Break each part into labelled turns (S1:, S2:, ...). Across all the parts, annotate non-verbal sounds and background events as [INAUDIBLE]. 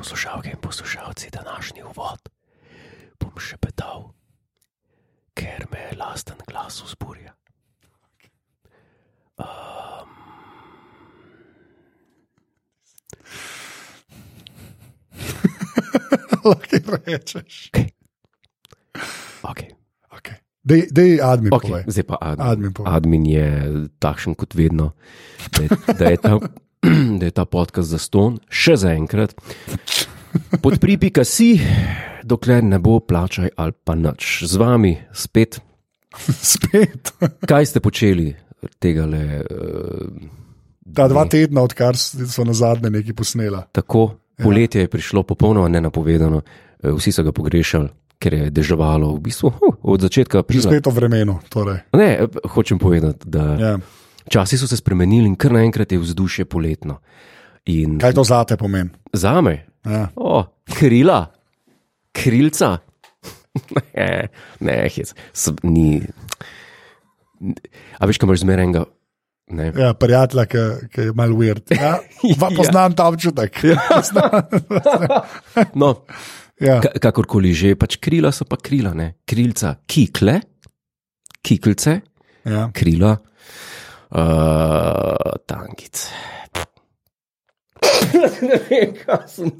S1: Poslušalke in poslušalci, današnji uvod bom šepetal, ker me lasten glas vzburja.
S2: lahko rečeš.
S1: Okay.
S2: Okay. Dej, dej admin okay.
S1: Okay.
S2: povej.
S1: Zdaj pa admin.
S2: Admin povej.
S1: admin je takšen kot vedno, da je, da je, ta, [CLEARS THROAT] da je ta podcast za ston, še za enkrat. Podpripika si, dokler ne bo plačaj ali pa nič. Z vami spet,
S2: [LAUGHS] Spet.
S1: kaj ste počeli tega le eh,
S2: Ta dva tedna, odkar s- so na zadnje nekaj posnela.
S1: tako?
S2: Ja.
S1: Poletje je prišlo popolnoma nenapovedano, eh, vsi so ga pogrešali, ker je deževalo v bistvu huh, od začetka
S2: Že
S1: aprila.
S2: spet o vremenu. Torej.
S1: Ne, eh, hočem povedati, da.
S2: Ja.
S1: Časi so se spremenili in kar naenkrat je vzdušje poletno. In
S2: Kaj to zate pomeni?
S1: za me,
S2: Ja.
S1: o, krila, krilca. [LAUGHS] ne, ne, hec, Sb- ni. A veš, kam imaš zmeraj enega. Ne.
S2: Ja, prijatelja, ki- ki je malo
S1: [LAUGHS]
S2: weird. Ja, va-
S1: Ja.
S2: poznam ta občutek.
S1: No,
S2: [LAUGHS] Ja.
S1: ka- kakorkoli že, pač krila so pa krila, ne. Krilca, kikle, kiklce,
S2: Ja.
S1: krila,
S2: eh,
S1: uh, tankice. ne vem, kaj sem,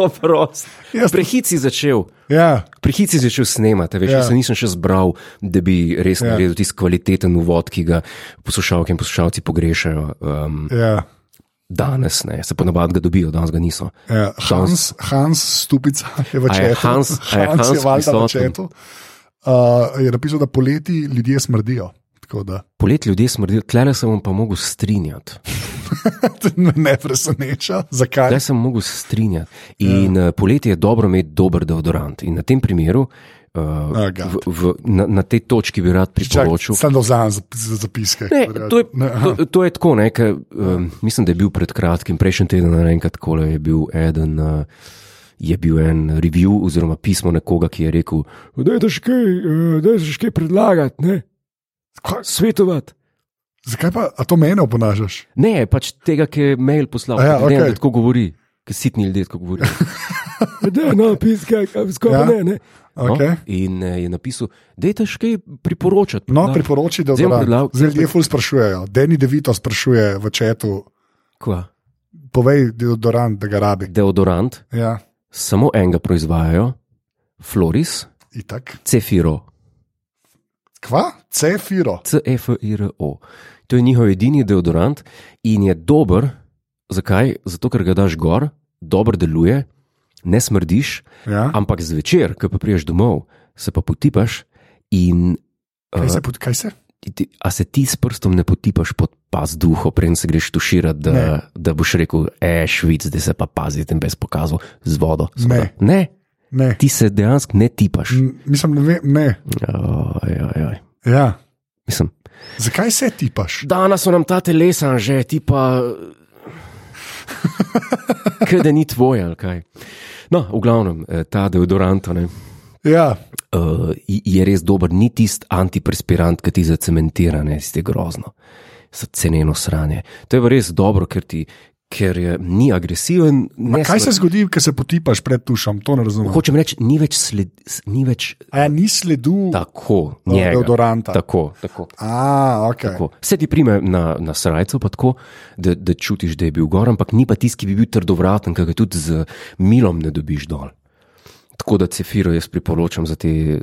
S1: oprost.
S2: Jaz-
S1: Prehit si začel.
S2: Ja.
S1: Prihitci začel snemati, a veš,
S2: Ja.
S1: ja. jaz se nisem še zbral, da bi res
S2: Ja.
S1: ja. naredil tisti kvaliteten uvod, ki ga poslušalke in poslušalci pogrešajo um,
S2: Ja.
S1: danes, ne. se ponavadi ga dobijo, danes ga niso.
S2: Ja, Hans, Hans Stupica je v
S1: A je
S2: četu.
S1: Hans- a je Hans
S2: je valjda v
S1: prisoten?
S2: četu. Uh, je napisal, da poleti ljudje smrdijo. Tako da
S1: Polet ljudje smrdijo, tlele sem vam pa mogel strinjati.
S2: [LAUGHS] te ne preseneča, zakaj.
S1: Tlele sem mogel strinjati. In ja. poletje je dobro imeti dober deodorant. In na tem primeru, uh,
S2: Ah,
S1: v,
S2: God.
S1: v, na, na tej točki bi rad priporočil.
S2: Sam dovzamem za, za zapiske.
S1: Ne,
S2: Ker-
S1: to, je,
S2: ne, aha. Ja.
S1: to, to je tako, ne, ker, um, mislim, da je bil pred kratkim, prejšnji teden, naenkrat, ko je bil eden. Uh, Je bil en review, oziroma pismo nekoga, ki je rekel: Da je še kaj, eh, daj še kaj predlagati, ne?
S2: Kaj?
S1: svetovati.
S2: Zakaj pa a to mene oponažaš?
S1: Ne, pač tega, ki je mail poslal, ja,
S2: Aja,
S1: okay.
S2: okej.
S1: da tako govori, ki sitni ljudje tako govorijo. [LAUGHS] Da, no, piska,
S2: Ja.
S1: skoraj
S2: ne,
S1: ne.
S2: Okej.
S1: In eh, je napisal, da je še kaj priporočati.
S2: No,
S1: Da.
S2: priporoči, da
S1: Zdaj bom predlagal-
S2: Zdaj ljudje ful sprašujejo. Deni Devito sprašuje v četu,
S1: Kva?
S2: povej deodorant, da ga rabi.
S1: Deodorant,
S2: Ja,
S1: samo enega proizvajajo, Floris.
S2: itak.
S1: Cefiro, E
S2: Kva? Cefiro.
S1: CFIRO. To je njihov edini deodorant in je dober. Zakaj? Zato, ker ga daš gor, dobro deluje, ne smrdiš,
S2: Ja.
S1: ampak zvečer, ko pa priješ domov, se pa potipaš. In,
S2: Kaj
S1: eh,
S2: se? pod- Kaj se?
S1: ti- a se ti s prstom ne potipaš pod pas duho, preden se greš tuširati,
S2: Ne.
S1: da, da boš rekel, e, švic, da se pa pazi, tem brez pokazov z vodo.
S2: Ne.
S1: seveda. ne,
S2: Ne.
S1: ti se dejansko ne tipaš.
S2: M, Mislim, ne. Ve, ne.
S1: Oj, oj, oj.
S2: Ja.
S1: Mislim,
S2: Zakaj se tipaš?
S1: Danes so nam ta telesa že, ti
S2: [LAUGHS]
S1: pa. Kaj da ni tvoje, ali kaj. No, v glavnem, eh, ta deodorant a ne,
S2: Ja,
S1: eh, je- je res dober, ni tisti antiperspirant, ki ti zacementira, ne tiste grozno, za ceneno sranje. To je pa res dobro, ker, ti, ker je, ni agresiven. Ne,
S2: kaj se
S1: sled-
S2: zgodi, ko se potipaš pred tušem? To ne razumem.
S1: Hočem reči, ni več, sled, s- ni več
S2: A ja, ni sledu
S1: tako,
S2: eh,
S1: njega.
S2: deodoranta.
S1: Tako, tako.
S2: A, okay.
S1: Tako. Se ti prime na, na srajco, pa tako, da, da čutiš, da je bil gor, ampak ni pa tisti, ki bi bil trdovraten, ki ga tudi z milom ne dobiš dol. Tako da cefiro jaz priporočam za te eh,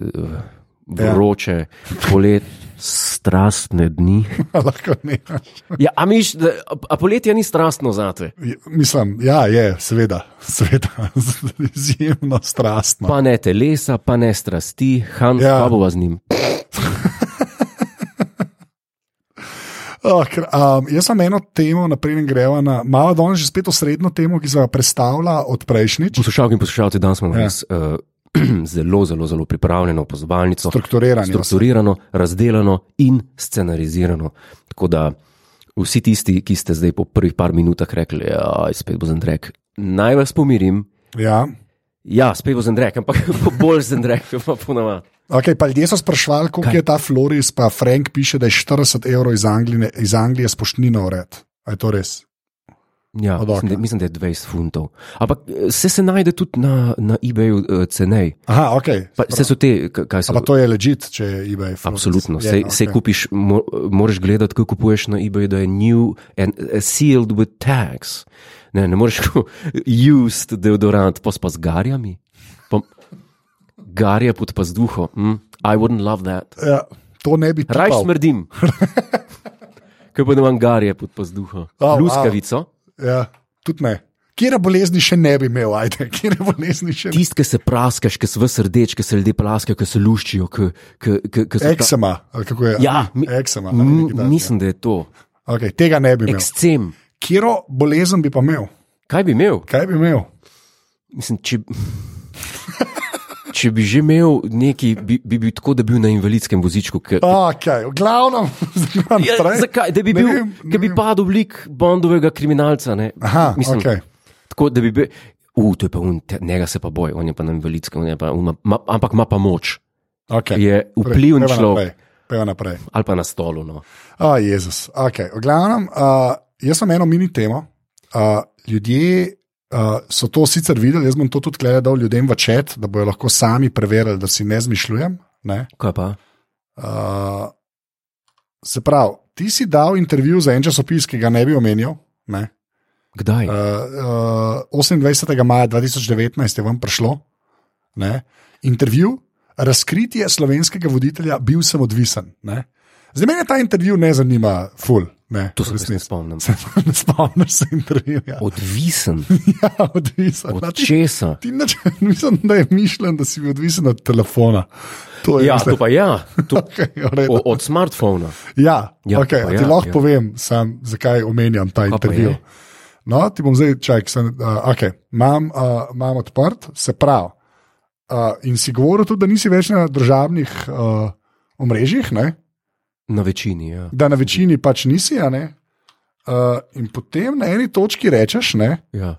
S1: vroče, ja. polet, strastne [LAUGHS] dni.
S2: [LAUGHS] Lahko nehaš.
S1: Ja, a miš, da, a, a poletje ni strastno zate,
S2: Je- Mislim, ja, je, seveda, seveda [LAUGHS] izjemno strastno.
S1: pa ne telesa, pa ne strasti, han,
S2: Ja.
S1: ja. pa bova z njim.
S2: Oh, ker, um, jaz sem eno temo, naprej greva na malo danes, že spet osrednjo temo, ki se jo predstavlja od prejšnjič,
S1: Poslušalke in poslušalci, danes smo
S2: Ja.
S1: ja. res uh, [CLEARS THROAT] zelo, zelo, zelo pripravljeno opozovalnico.
S2: strukturiranje.
S1: strukturirano, razdeljeno in scenarizirano. Tako da vsi tisti, ki ste zdaj po prvih par minutah rekli, da je spet bo zendrek, naj vas pomirim.
S2: Ja.
S1: Ja, spet bo zendrek, ampak [LAUGHS] bo bolj zendrek, [LAUGHS] kot pa ponavadi.
S2: Okay, pa ljudje so sprašvali, koliko Kaj? je ta Floris, pa Frank piše, da je 40 evrov iz Anglije, iz Anglije spoštnina ured. A je to res?
S1: Ja,
S2: Od
S1: mislim,
S2: oka.
S1: da, mislim, da je 20 funtov. Ampak eh, se, se najde tudi na, na eBayu eh, cenej.
S2: Aha, ok.
S1: Pa, se so te, k- kaj so.
S2: Pa to je ležit, če je eBay. Florec.
S1: Absolutno,
S2: Je,
S1: se, yeah,
S2: ja, no, okej.
S1: okay. se kupiš, mo, moraš gledati, kako kupuješ na eBayu, da je new and eh, sealed with tags. Ne, ne moreš ko- [LAUGHS] used deodorant, pa s pa z garjami. Pa, garje pod pa z duho. Mm, I wouldn't love that.
S2: Ja, to ne bi
S1: Raj
S2: tipal. [LAUGHS]
S1: smrdim. Kaj pa ne imam garje pod pa z duho.
S2: wow.
S1: Oh, Luskavico. Wow.
S2: Ja, tudi ne. Kjer bolezni še ne bi imel, ajde, [LAUGHS] kjer bolezni še ne bi.
S1: Tisti, ki se praskaš, ki si v srdeč, ki se ljudje praskajo, ki se luščijo. Ki, ki, ki, ki se
S2: Eksema, ali kako je?
S1: Ja, mi-
S2: eksema. ali
S1: M-
S2: nekaj takega. Ja.
S1: Mislim, da je to.
S2: Okay, tega ne bi imel.
S1: Ekscem.
S2: Kjero bolezen bi pa imel?
S1: Kaj bi imel?
S2: Kaj bi imel?
S1: Mislim, če, [LAUGHS] če bi že imel neki, bi, bi bil tako, da bi bil na invalidskem vozičku. Ker,
S2: Okay, v glavnem, [LAUGHS] zdaj
S1: ja,
S2: naprej.
S1: zakaj? Da bi,
S2: Ne
S1: bil,
S2: vem, ne
S1: da bi
S2: vem. Ah.
S1: padel oblik Bondovega kriminalca. Ne?
S2: Aha, okej.
S1: Tako da bi bil. Uh, to je pa un, te- njega se pa boj, on je pa na invalidskem, on je pa, on ma, ma, ampak ima pa moč.
S2: Okay.
S1: Je vpliven človek,
S2: Pejva Torej, naprej.
S1: ali pa na stolu. No.
S2: A, Jezus. Okay. V glavnem, uh, jaz sem eno mini temo. Uh, ljudje uh, so to sicer videli, jaz bom to tudi tukaj dal ljudem v čet, da bodo lahko sami preverili, da si ne zmišljujem. Ne?
S1: Kaj pa?
S2: Uh, se pravi, ti si dal intervju za en časopis, ki ga ne bi omenjal. Ne?
S1: Kdaj? Uh,
S2: Uh, uh, 28. Eh, maja 2019 je vam prišlo ne? intervju, razkritje slovenskega voditelja, bil sem odvisen. Ne? Zdaj me ta intervju ne zanima, ful. Ne,
S1: to se
S2: v
S1: res ne
S2: resnici.
S1: spomnim.
S2: Se ne spomniš se intervjuja.
S1: Odvisen
S2: [LAUGHS] Ja, odvisen. Na,
S1: od
S2: ti,
S1: česa?
S2: ti nač, [LAUGHS] mislim, da je mišljen, da si bil odvisen od telefona. To je
S1: Ja,
S2: mislim, [LAUGHS]
S1: to pa ja, to,
S2: okay, v redu.
S1: o, od smartfona.
S2: Ja,
S1: Ja,
S2: ja, okay,
S1: pa ja,
S2: ja, ti lahko
S1: ja.
S2: ja. povem, sam, zakaj omenjam ta
S1: pa
S2: intervju.
S1: je?
S2: No, ti bom zdaj čakal, sem, uh, okay, imam, uh, imam odprt, se pravi. Uh, in si govoril tudi, da nisi več na državnih uh, omrežjih, ne?
S1: Na večini, ja.
S2: da na večini pač nisi. a ne? Uh, in potem na eni točki rečeš, ne,
S1: ja.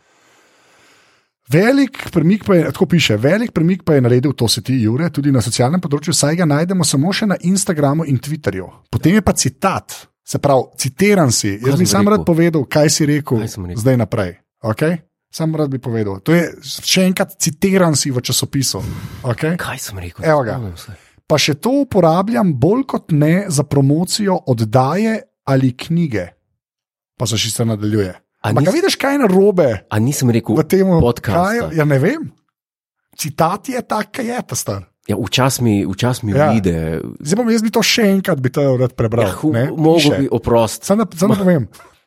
S2: Velik premik, pa je, tako piše, velik premik pa je naredil, to se ti, Jure, tudi na socialnem področju, saj ga najdemo samo še na Instagramu in Twitterju. Potem je pa citat, se pravi, citiran si.
S1: Kaj
S2: Jaz bi
S1: sem
S2: sam
S1: rekel?
S2: rad povedal, kaj si rekel,
S1: Kaj sem rekel?
S2: zdaj naprej. Okay? Sam rad bi povedal. To je še enkrat citiran si v časopisu. Okay?
S1: Kaj sem rekel?
S2: Evo ga.
S1: Spomnim se.
S2: Pa še to uporabljam bolj kot ne za promocijo oddaje ali knjige. Pa se še se nadaljuje.
S1: A
S2: Ampak
S1: nis-
S2: nis... vidiš, kaj je narobe?
S1: A nisem rekel,
S2: v tem
S1: podcastu.
S2: Ja, ne vem. Citat je tak, kaj je ta star.
S1: Ja, včasih mi, včas mi ja.
S2: Ja.
S1: uide,
S2: Zdaj bom jaz bi to še enkrat bi to rad prebral.
S1: ja, hu-
S2: ne,
S1: mogo
S2: piše.
S1: bi oprost.
S2: Samo da, sam da povem.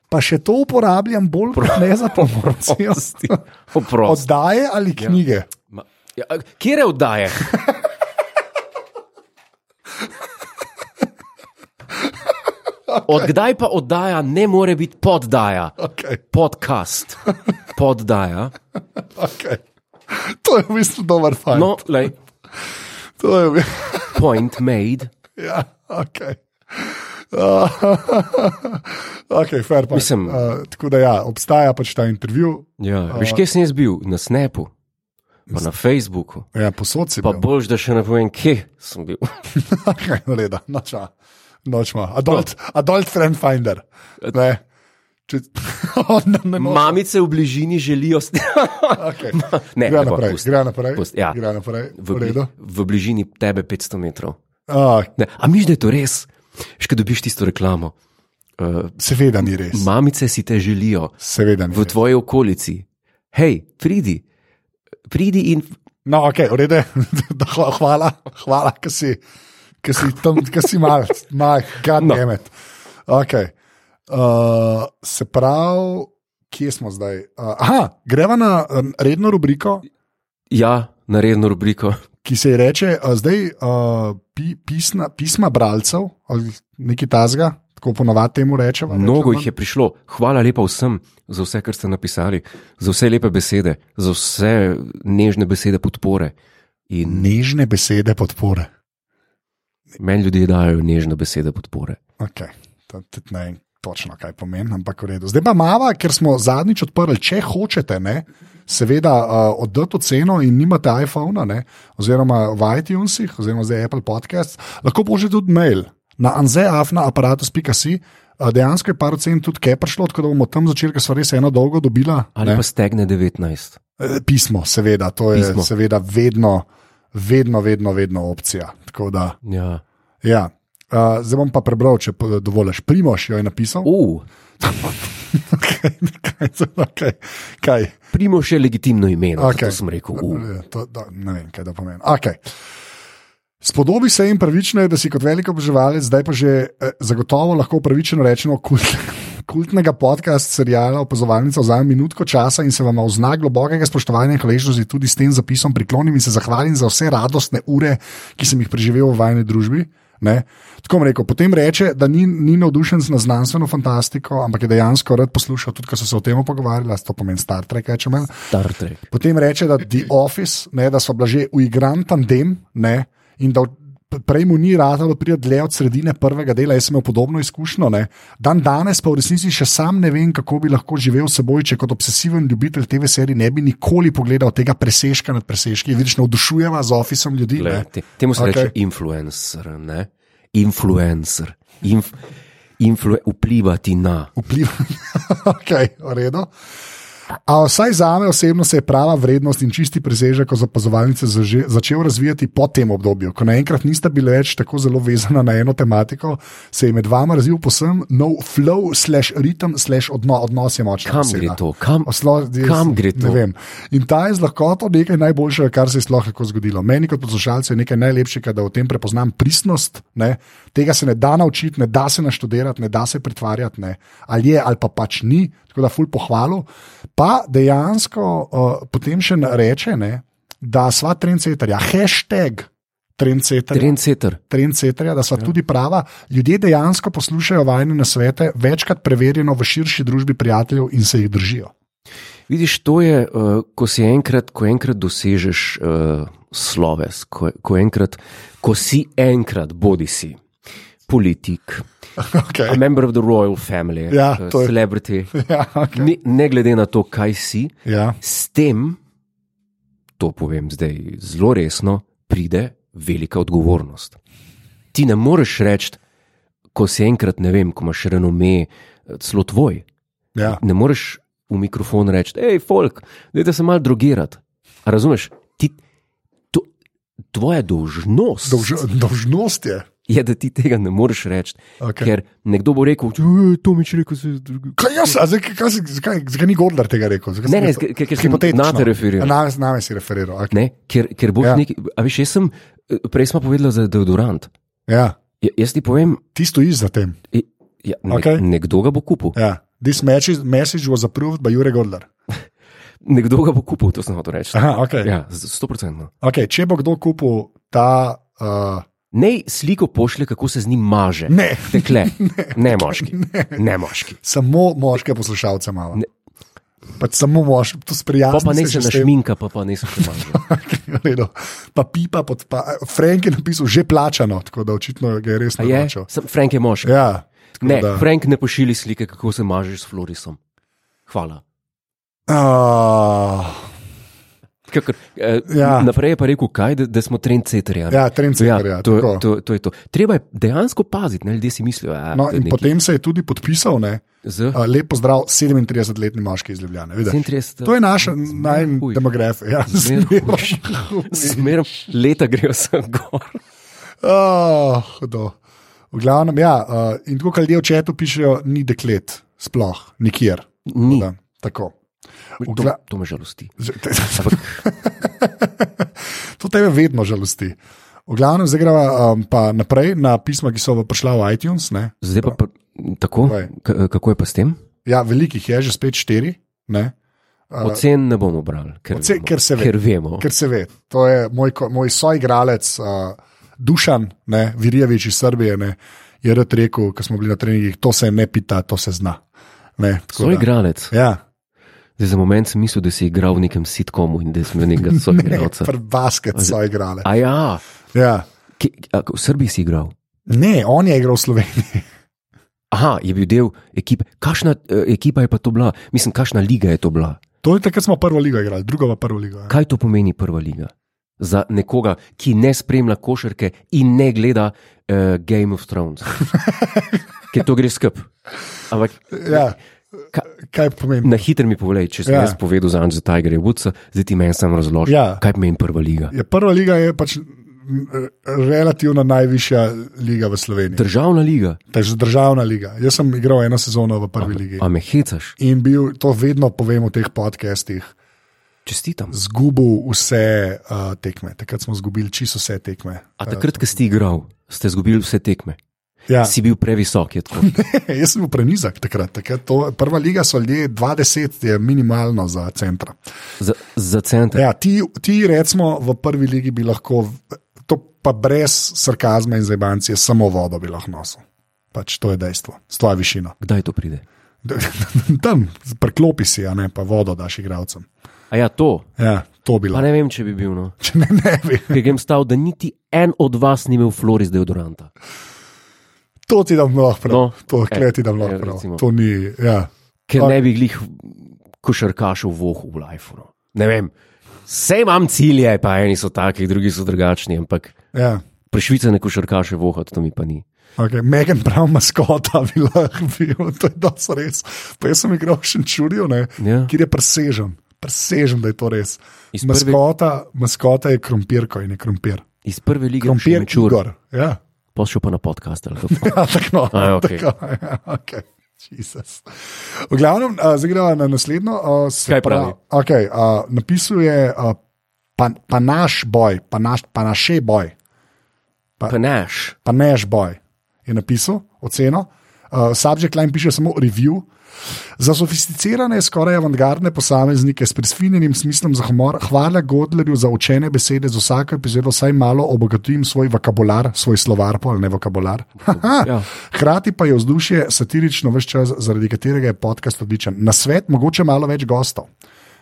S2: Pa še to uporabljam bolj kot ne za promocijo.
S1: Oprosti. oprost.
S2: Oddaje ali knjige.
S1: Ma- Ja, a- Kje je
S2: [LAUGHS]
S1: oddaje? Od kdaj pa oddaja ne more biti poddaja?
S2: Okay,
S1: Podcast, poddaja.
S2: okay. To je v bistvu dober fajn.
S1: No, lej,
S2: To je v bistvu.
S1: point made.
S2: [LAUGHS] Ja, ok. [LAUGHS] Uh, ok, fair pa.
S1: Mislim-
S2: uh, tako da ja, obstaja pač ta intervju.
S1: Ja, veš, kje sem jaz bil? Na Snapu, pa na Facebooku.
S2: Ja, posod si
S1: Pa
S2: bil.
S1: boš, da še ne povem, kje sem bil.
S2: Kaj je reda, nočma, nočma. Adult, adult friend finder. Ne. Če, [LAUGHS] oh, ne, ne, no.
S1: Mamice v bližini želijo.
S2: [LAUGHS]
S1: s-
S2: okay.
S1: ne,
S2: Gre
S1: ne,
S2: naprej,
S1: pusti.
S2: gre naprej.
S1: Pusti, ja.
S2: Gre naprej.
S1: v,
S2: V
S1: bli,
S2: redu.
S1: v bližini tebe 500 metrov.
S2: Ah,
S1: Ne, a miš, da je to res? Še ko dobiš tisto reklamo. Uh,
S2: seveda ni res.
S1: mamice si te želijo v
S2: Seveda ni. Res.
S1: tvoji okolici. Hej, pridi, pridi in
S2: No, ok, v redu. [LAUGHS] Da, hva- Hvala, hvala, ker si, ker si tam, ker si mal, mal,
S1: No.
S2: gadnemet. No. Okay. Uh, se pravi, kje smo zdaj? Uh, aha, greva na um, redno rubriko.
S1: ja, na redno rubriko.
S2: ki se ji reče a, zdaj a, pi, pisna, pisma bralcev ali nekaj tazga, tako ponovadi temu rečemo.
S1: Mnogo jih je prišlo. Hvala lepa vsem za vse, kar ste napisali, za vse lepe besede, za vse nežne besede podpore. In
S2: Nežne besede podpore.
S1: meni ljudje dajo nežne besede podpore.
S2: Okay. To tudi ne vem točno, kaj pomeni, ampak v redu. Zdaj pa mava, ker smo zadnjič odprli, če hočete, ne, seveda uh, oddati ceno in nimate iPhona, ne, oziroma v iTunesih, oziroma zdaj Apple Podcast, lahko pošljete tudi mail na anzeafna aparatus.si. A Dejansko je par ocen tudi kaj prišlo, tako da bomo tam začeli, ker smo res eno dolgo dobila.
S1: ali
S2: ne.
S1: pa stegne 19.
S2: Eh, Pismo, seveda, to je
S1: Pismo.
S2: Pismo. seveda vedno, vedno, vedno, vedno opcija. Tako Da,
S1: Ja.
S2: ja. uh, zdaj bom pa prebral, če po- dovoliš. Primoš jo je napisal.
S1: Uh,
S2: Okay, [LAUGHS] kaj, okay, kaj.
S1: Primoš je legitimno ime, no,
S2: Okej.
S1: okay. sem rekel. U.
S2: Eh, To, da, ne vem, kaj to pomeni. Okay. Spodobi se jim pravično, je, da si kot velik oboževalec, zdaj pa že eh, zagotovo lahko pravično rečemo, kult, [LAUGHS] kultnega podcast serijala Opazovalnica vzame minutko časa in se vam v znak globokega spoštovanja in hvaležnosti tudi s tem zapisom priklonim in se zahvalim za vse radostne ure, ki sem jih preživel v vajni družbi. Ne? Tako bom rekel, potem reče, da ni, ni navdušen na znanstveno fantastiko, ampak je dejansko rad poslušal, tudi ko so se o tem pogovarjali, to pomeni Star Trek, če manj.
S1: Star Trek.
S2: Potem reče, da The Office, ne, da so bila že uigran tandem ne, in da v- prej mu ni ratalo priti dlje od sredine prvega dela, jaz sem imel podobno izkušnjo. Ne. Dan danes pa v resnici še sam ne vem, kako bi lahko živel s seboj, če kot obsesiven ljubitelj TV serije ne bi nikoli pogledal tega preseška nad preseški. Vidiš, navdušujeva z Officem ljudi.
S1: Glej,
S2: Ne.
S1: te, temu se okay.
S2: Okej.
S1: reče influencer. Ne? Influencer. Inf, influ, vplivati na.
S2: vpliva. [LAUGHS] okay, v redu. A vsaj za me osebno se je prava vrednost in čisti presežek od opazovalnice zaže- začel razvijati po tem obdobju, ko naenkrat nista bila več tako zelo vezana na eno tematiko, se je med vama razvil posem nov flow, slash ritem, slash odno, odnos je močan.
S1: Kam gre to? Kam,
S2: Oslo, jaz,
S1: Kam gre to?
S2: Ne vem. In ta je z lahkoto nekaj najboljšega, kar se je sploh lahko zgodilo. Meni kot poslušalcu je nekaj najlepšega, da v tem prepoznam pristnost. Ne? Tega se ne da naučiti, ne da se naštudirati, ne da se pretvarjati, ne. ali je ali pa pač ni. Tako da ful pohvalu. Pa dejansko uh, potem še reče, ne, da sva trendsetarja, hashtag trendsetarja
S1: Trendsetter.
S2: trendseterja, da so ja. tudi prava. Ljudje dejansko poslušajo vajne nasvete, večkrat preverjeno v širši družbi prijateljev in se jih držijo.
S1: Vidiš, to je, eh, ko si enkrat, ko enkrat dosežeš uh, sloves, ko, ko, enkrat, ko si enkrat, bodi si politik,
S2: [LAUGHS]
S1: a
S2: Okay.
S1: member of the royal family,
S2: Ja,
S1: eh,
S2: to je-
S1: celebrity,
S2: [LAUGHS] Ja, okay.
S1: ne, ne glede na to, kaj si,
S2: ja.
S1: s tem, to povem zdaj zelo resno, pride velika odgovornost. Ti ne moreš reči, ko si enkrat, ne vem, ko imaš renome, eh, celo tvoj,
S2: Ja.
S1: ne moreš v mikrofon reči, hej, folk, dajte se malo drogirati. A razumeš, ti, to, tvoja dolžnost
S2: Dolž, dolžnost je.
S1: je, da ti tega ne moreš reči. Okay.
S2: Okay.
S1: Ker nekdo bo rekel, "Ej, to mi je rekel, se drugi.
S2: Kaj jaz, a zdaj, kaj, si- zakaj, zakaj ni Gordler tega rekel? Zakaj
S1: Ne,
S2: sem
S1: ne,
S2: jaz to-
S1: ker- ker sem
S2: Hipotetično.
S1: nate referiral.
S2: Na, na me si referiral. Okay.
S1: Ne, ker, ker boš ja.
S2: Ja.
S1: neki. A veš, jaz sem, eh, prej smo povedali za deodorant.
S2: Ja.
S1: Ja, jaz ti povem,
S2: Ti stojiš za tem.
S1: i- ja, ne, okay.
S2: Okej.
S1: nekdo ga bo kupil. Ja.
S2: Ja. This message, message was approved by Jure Gordler.
S1: Nekdo ga bo kupil, to sem hotel reči.
S2: Aha, okay.
S1: Ja, sto procentno.
S2: Okay, če bo kdo kupil ta. Uh,
S1: Nej sliko pošlje, kako se z njim maže.
S2: [LAUGHS] ne,
S1: Tekle, ne moški. Ne moški.
S2: samo moške poslušalce malo.
S1: Ne.
S2: Pač samo mož, to
S1: Pa
S2: sprijazni.
S1: pa ne se
S2: že s [LAUGHS]
S1: našminka, pa pa ne se še maže.
S2: tem, v redu. Pa pipa pod pa. Frank je napisal že plačano, tako da očitno ga je res
S1: A je?
S2: naročil.
S1: Sem, Frank je moški.
S2: Ja, tako
S1: ne,
S2: da.
S1: Frank ne pošilji slike, kako se mažeš s Florisom. Hvala.
S2: Ah,
S1: Kakor, eh, ja.
S2: Ja.
S1: Naprej je pa rekel, kaj, da, da smo trendsetteri. a ne?
S2: ja, trendsetter. Ja,
S1: to,
S2: tako.
S1: to, to je to. Treba je dejansko paziti, ne ljudje si mislijo. A,
S2: No,
S1: to je
S2: in
S1: neki
S2: potem se je tudi podpisal, ne,
S1: Z
S2: a, lep pozdrav 37-letni moški iz Ljubljana. To
S1: 37.
S2: je naš
S1: huj.
S2: najdemograf. Ja,
S1: Zmeraj
S2: zmeraj huj.
S1: Zmerno leta grejo sem gor.
S2: Ah, hudo. v glavnem, ja, uh, in tako, kar ljudje v četu pišejo, ni deklet, sploh nikjer.
S1: Ni.
S2: Da, tako. V
S1: To,
S2: gla-
S1: to me žalosti.
S2: To tebe vedno žalosti. V glavnem, zdaj gremo um, pa naprej na pisma, ki so v- prišla v iTunes. Ne?
S1: Zdaj pa, pa tako,
S2: Povej.
S1: K- kako je pa s tem?
S2: Ja, velikih je že spet štiri, ne?
S1: Ocen ne bomo brali, ker,
S2: Ocen,
S1: vemo.
S2: ker se ve.
S1: ker vemo.
S2: ker se ve. To je moj, ko- moj soigralec, uh, Dušan, ne? Virjevič iz Srbije, ne? je rad rekel, ko smo bili na treningih, to se ne pita, to se zna. Ne, tako
S1: Svoj
S2: da-
S1: igralec.
S2: Ja,
S1: Zdaj, za moment sem mislil, da si igral v nekem sitkomu in da si imel
S2: [LAUGHS]
S1: nekega
S2: ne,
S1: soigralca.
S2: prbasket soigralec.
S1: A ja,
S2: Ja.
S1: ki, a, v Srbiji si igral.
S2: Ne, on je igral v Sloveniji.
S1: Aha, je bil del ekipe. Kakšna eh, ekipa je pa to bila? Mislim, kakšna liga je to bila?
S2: To je takrat smo prvo ligo igrali, drugo pa prvo ligo. Ja.
S1: Kaj to pomeni prva liga? Za nekoga, eh,
S2: [LAUGHS]
S1: ki ne spremlja košarke in ne gleda uh, Game of Thrones. ker to gre skup. Ampak
S2: Ja.
S1: Ka-
S2: Kaj pomeni?
S1: na hitro mi povej, če sem ja.
S2: Ja.
S1: jaz povedal za Anžeta Tigerja Woodsa, zdaj ti meni sam razloži, ja.
S2: Ja.
S1: kaj meni prva liga.
S2: Ja, prva liga je pač m, relativno najvišja liga v Sloveniji.
S1: Državna liga,
S2: Takže državna liga. Jaz sem igral eno sezono v prvi ligi
S1: a me hecaš,
S2: in bil, to vedno povem v teh podcestih,
S1: čestitam.
S2: zgubil vse uh, tekme. Takrat smo izgubili čisto vse tekme.
S1: A
S2: Uh,
S1: takrat, ko si igral, ste izgubili vse tekme.
S2: Ja.
S1: Si bil previsok, je tako.
S2: [LAUGHS] Jaz sem bil prenizak takrat. takrat to, prva liga so ljudje 20, je minimalno za centra.
S1: Za, za center.
S2: Ja, ti, ti, recimo, v prvi ligi bi lahko, v- to pa brez sarkazma in zebancije, samo vodo bi lahko nosil. Pač to je dejstvo, s tvojo višino.
S1: Kdaj to pride?
S2: [LAUGHS] Tam, preklopi si, a ne pa vodo daš igravcem.
S1: A ja, to.
S2: Ja, to bi
S1: Pa
S2: lahko.
S1: ne vem, če bi bil. No.
S2: Če ne, ne bi.
S1: Ker grem stav, da niti en od vas ni imel Floris deodoranta.
S2: To ti dam lahko prav. No,
S1: No,
S2: to
S1: eh,
S2: kleti dam lahko
S1: eh,
S2: prav.
S1: recimo.
S2: To ni. Ja.
S1: Ker
S2: Pa-
S1: ne bi glih košarkašov vohu v lajfu. No. Ne vem. Vse imam cilje, pa eni so taki, drugi so drugačni, ampak
S2: ja.
S1: prešvicane košarkaše vohati, to mi pa ni.
S2: Okay. Megan prav maskota [LAUGHS] bi lahko bil, to je dosti res. Pa jaz sem igral še čurijo,
S1: Ja.
S2: kjer je presežen, presežen, da je to res.
S1: Iz prve-
S2: Maskota, maskota je krompir, ko je ne krompir.
S1: Iz prve lige
S2: Krompir,
S1: čur,
S2: čur. Ja, [LAUGHS]
S1: pa šel pa na podcast. ali kako?
S2: ja tako no.
S1: A, okej.
S2: tako, ja, okay. Jesus. V glavnem, uh, zdaj gremo na naslednjo. Uh,
S1: Kaj pravi?
S2: Okay, uh, napisal je uh, pa, pa naš boj, pa, naš, pa naše boj.
S1: Pa neš.
S2: pa neš boj, je napisal oceno. Uh, subject line piše samo review. Za sofisticirane, skoraj avantgardne posameznike s prisvinjenim smislom za humor, hvala Godlerju za učene besede, z vsako epizodo vsaj malo obogatim svoj vokabular, svoj slovar, pa ali ne vokabular. Haha.
S1: Ja.
S2: Hkrati pa je vzdušje satirično vse čas, zaradi katerega je podcast odličen. Na svet, mogoče malo več gostov.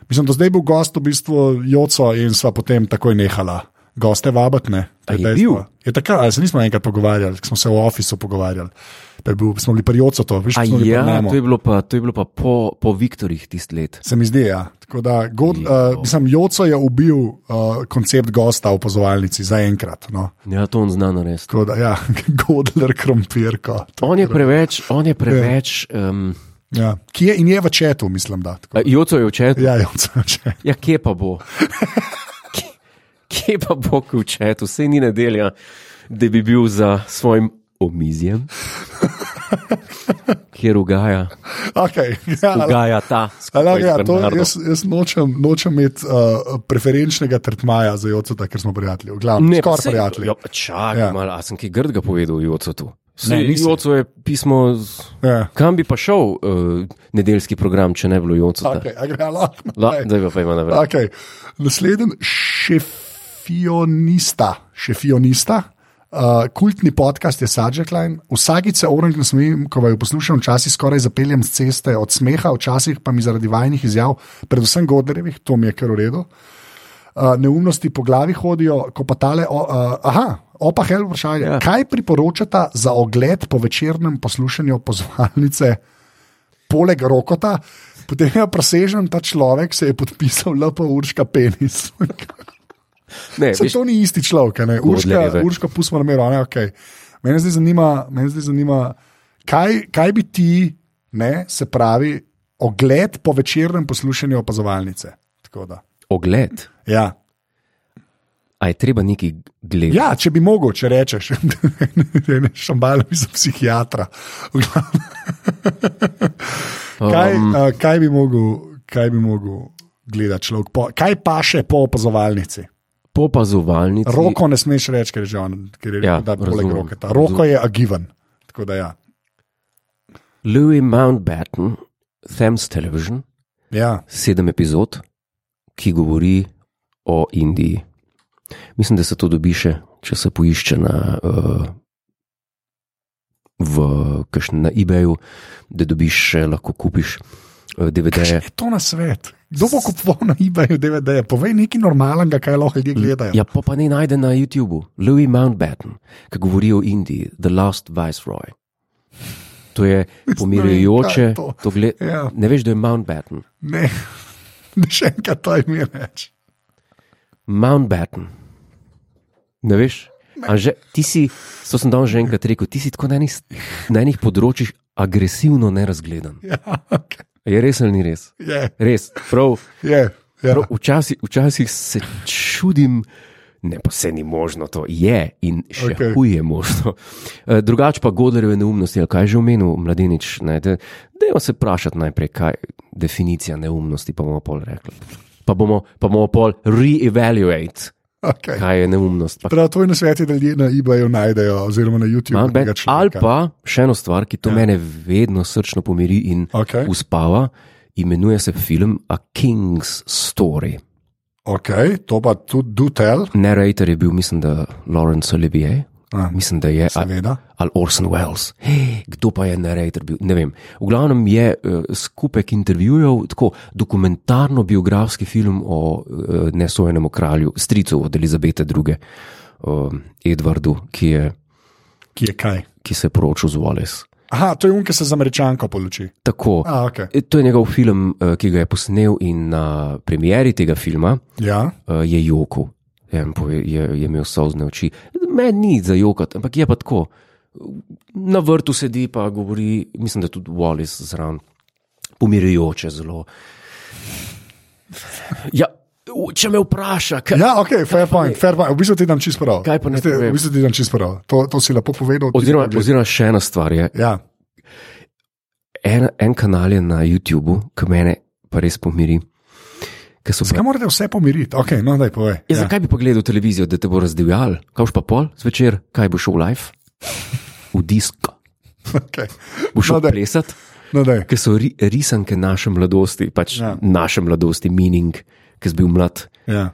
S2: Mislim, do zdaj je bil gost v bistvu Joco in sva potem takoj nehala. Goste vabatne.
S1: A je bil?
S2: Je tako, ali se nismo enkrat pogovarjali, ko smo se v ofisu pogovarjali. Pa je Bil, smo bili pri Jocu, to veš,
S1: A
S2: kaj smo bili pri
S1: ja,
S2: Nemu.
S1: to je bilo pa, to je bilo pa po, po Viktorjih tisti let.
S2: Se mi zdi, ja. Tako da, God, uh, mislim, Joco je ubil uh, koncept gosta v pozovalnici za enkrat. No.
S1: Ja, to on zna narediti.
S2: Tako da, ja, [LAUGHS] Godler, krompirko.
S1: On je preveč, on je preveč. Um,
S2: Ja. Ki je in je v četu, mislim, da. Tako.
S1: Joco je očet.
S2: Ja, Joco je v [LAUGHS] četu.
S1: Ja, kje pa bo? Kje- Kje pa bo kučet, vse ni nedelja, da bi bil za svojim omizjem, kjer ugaja,
S2: Okay, ja, lahko-
S1: ugaja ta
S2: Ampak,
S1: skupaj.
S2: ja,
S1: s
S2: to,
S1: Bernardom.
S2: jaz, jaz nočem, nočem imeti uh, preferenčnega tretmaja za Jocota, ker smo prijatelji. V glavnem,
S1: Ne,
S2: skoraj
S1: saj-
S2: prijatelji.
S1: Ja, pa čakaj,
S2: Ja.
S1: ja. malo, a sem kaj grdega povedal Jocotu.
S2: Ne,
S1: Sej,
S2: nisem.
S1: Joco je pismo, z-
S2: Ja.
S1: kam bi pa šel uh, nedeljski program, če ne bi bilo Jocota.
S2: Okay, a gre lahko
S1: La,
S2: naprej?
S1: Zdaj pa, pa ima na vrhu.
S2: Okay. Naslednji šefionista, šefionista. Uh, kultni podcast je Subject Line. Vsakice oranžne smem, ko jo poslušam, včasih skoraj zapeljem z ceste od smeha, včasih pa mi zaradi vajnih izjav, predvsem Godlerjevih, to mi je kar v redu. Uh, neumnosti po glavi hodijo, ko pa tale. O, uh, aha, opa, hel vprašanje. Ja.
S1: Ja.
S2: Kaj priporočata za ogled po večernem poslušanju pozvalnice? poleg rokota, potem je presežen ta človek, se je podpisal LP Urška Penis. [LAUGHS]
S1: Ne,
S2: Se
S1: veš,
S2: to ni isti človek, a ne? Urška,
S1: Godlerjeve.
S2: Urška pustimo na miru, a ne, okay. Mene zdaj zanima, mene zdaj zanima kaj, kaj bi ti, ne, se pravi, ogled po večernem poslušanju opazovalnice. Tako da,
S1: ogled.
S2: Ja.
S1: A je treba neki gled?
S2: ja, če bi mogel, če rečeš, [LAUGHS] da ne šambala, mislim, psihiatra. V glavnem, Ja, Kaj, a, kaj bi mogel, kaj bi mogel gledati človek? Po, kaj pa še po opazovalnici?
S1: Po opazovalnici.
S2: Roko ne smeš reči, ker je že on, ker je
S1: Ja,
S2: ja, da poleg
S1: razumem,
S2: roke. Roko je agiven. Tako da ja.
S1: Louis Mountbatten, Thames Television,
S2: ja.
S1: sedem epizod, ki govori o Indiji. Mislim, da se to dobi še, če se poišče na, uh, v, kakšn- na eBayu, da dobiš še, lahko kupiš uh, DVD-je.
S2: Je to na svet. Kdo bo kupoval na eBayu DVD? Povej nekaj normalnega, kaj lahko ljudje gledajo.
S1: Ja, pa, pa ne najde na YouTubu. Louis Mountbatten, ki govori o Indiji, The Last Viceroy. To je
S2: kaj
S1: pomirjujoče.
S2: je to.
S1: to gled-
S2: Ja.
S1: Ne veš, da je Mountbatten.
S2: Ne, ne še enkrat to ime reči.
S1: Mountbatten. Ne veš? Anže, ti si, to sem danes že enkrat rekel, ti si tako na enih, na enih področjih agresivno nerazgledan.
S2: Ja, okay.
S1: Je res ali ni res?
S2: je,
S1: Res, prav.
S2: je, ja.
S1: prav včasih, včasih se čudim. Ne, pa se ni možno, to je in še okay.
S2: Okej.
S1: huje možno. Eh, Drugač pa Godlerjeve neumnosti, ali kaj je že omenil mladenič, ne, de, dejmo se vprašati najprej, kaj je definicija neumnosti, pa bomo pol rekli. Pa bomo, pa bomo pol re-evaluate,
S2: Okay.
S1: kaj je neumnost, pa
S2: Prav to je na svetu, da ljudje na eBayu najdejo, oziroma na YouTubu.
S1: Ampak,
S2: tega
S1: ali
S2: človeka.
S1: pa še eno stvar, ki to ja. mene vedno srčno pomiri in
S2: Okej.
S1: uspava, imenuje se film A King's Story.
S2: Okay, to pa tudi Dutel,
S1: Narrator je bil, mislim, da Laurence Olivier,
S2: A.
S1: mislim, da je ali,
S2: seveda.
S1: ali Orson Welles. Hey, kdo pa je narrator bil? Ne vem. V glavnem je uh, skupek intervjujev, tako dokumentarno-biografski film o uh, nesojenem kralju, stricu od Elizabete II., uh, Edwardu, ki, je,
S2: Ki je kaj?
S1: ki se je poročil z Wallace.
S2: Aha, to je unke se z američanko poluči.
S1: Tako.
S2: A, okay.
S1: E, To je njegov film, eh, ki ga je posnel in na premieri tega filma
S2: Ja,
S1: eh, je jokal. En pove- Je, je imel sozne oči. Meni ni za jokati, ampak je pa tako. Na vrtu sedi pa govori, mislim, da tudi Wallis zraven, pomirjujoče zelo. Ja, v- če me vpraša, kaj,
S2: ja ok, fair point, fair point. V bistvu ti dam čisto prav.
S1: Kaj pa ne
S2: Veste,
S1: povem?
S2: V bistvu ti dam čisto prav. To, to si lepo povedal. ti
S1: oziroma,
S2: pa bi-
S1: oziroma še ena stvar je,
S2: Ja,
S1: en, en kanal je na YouTubu, ki mene pa res pomiri. ker so pa-
S2: zakaj morate vse pomiriti? Ok, no, daj povej.
S1: Ja, zakaj bi pogledal televizijo, da te bo razdivjal? Kaj boš pa pol zvečer, kaj boš šel v live, v disko,
S2: [LAUGHS] Okay.
S1: boš šel
S2: Ja. No,
S1: no,
S2: daj.
S1: plesati,
S2: No, daj.
S1: ker so ri, risanke naše mladosti, pač ja.
S2: Ja.
S1: naše mladosti, meaning, ki si bil mlad,
S2: Ja.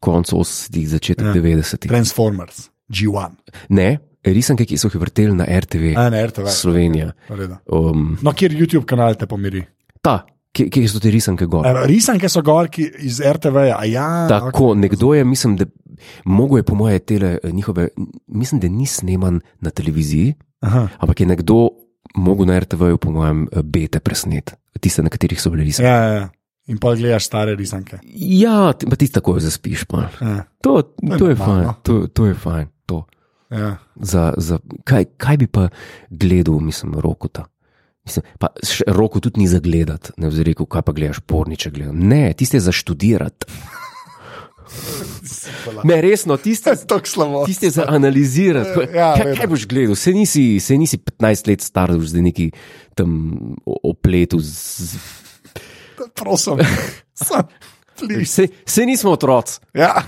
S1: konc 80-ih, začetek ja.
S2: Ja.
S1: 90-ih.
S2: Transformers, G1,
S1: Ne, risanke, ki so jih vrteli na RTV,
S2: a ne RTV.
S1: Slovenija.
S2: V redu.
S1: Um,
S2: No, kjer YouTube kanal te pomiri.
S1: ta, kje, kje so te risanke gor?
S2: E, Risanke so gor ki, iz RTV-ja, a ja. ok.
S1: Tako, nekdo je, mislim, da mogo je po moje tele eh, njihove, mislim, da ni sneman na televiziji,
S2: Aha.
S1: Ampak je nekdo mogel na RTV-ju, po mojem, bete presnet, tiste, na katerih so bili risanki.
S2: Ja, ja, ja. In pa gledaš stare risanke.
S1: Ja, ti- pa ti takoj zaspiš. Pa.
S2: Ja,
S1: To, to je
S2: normalno.
S1: fajn, to, to je fajn. To.
S2: ja.
S1: Za, za, kaj, kaj bi pa gledal, mislim, rokota? Mislim, pa še roko tudi ni za gledati, ne bi rekel, kaj pa gledaš porniče. Gledam. Ne, tiste za študirati. Ne, resno, tiste,
S2: [LAUGHS] Tako slabo.
S1: tiste za analizirati. Ja,
S2: Ja,
S1: kaj,
S2: vedno.
S1: kaj boš gledal? Se nisi, se nisi 15 let star, da boš zdaj neki tam o- opletu z [LAUGHS]
S2: Prosim, sam, please.
S1: Vse, vse nismo otroci,
S2: Ja.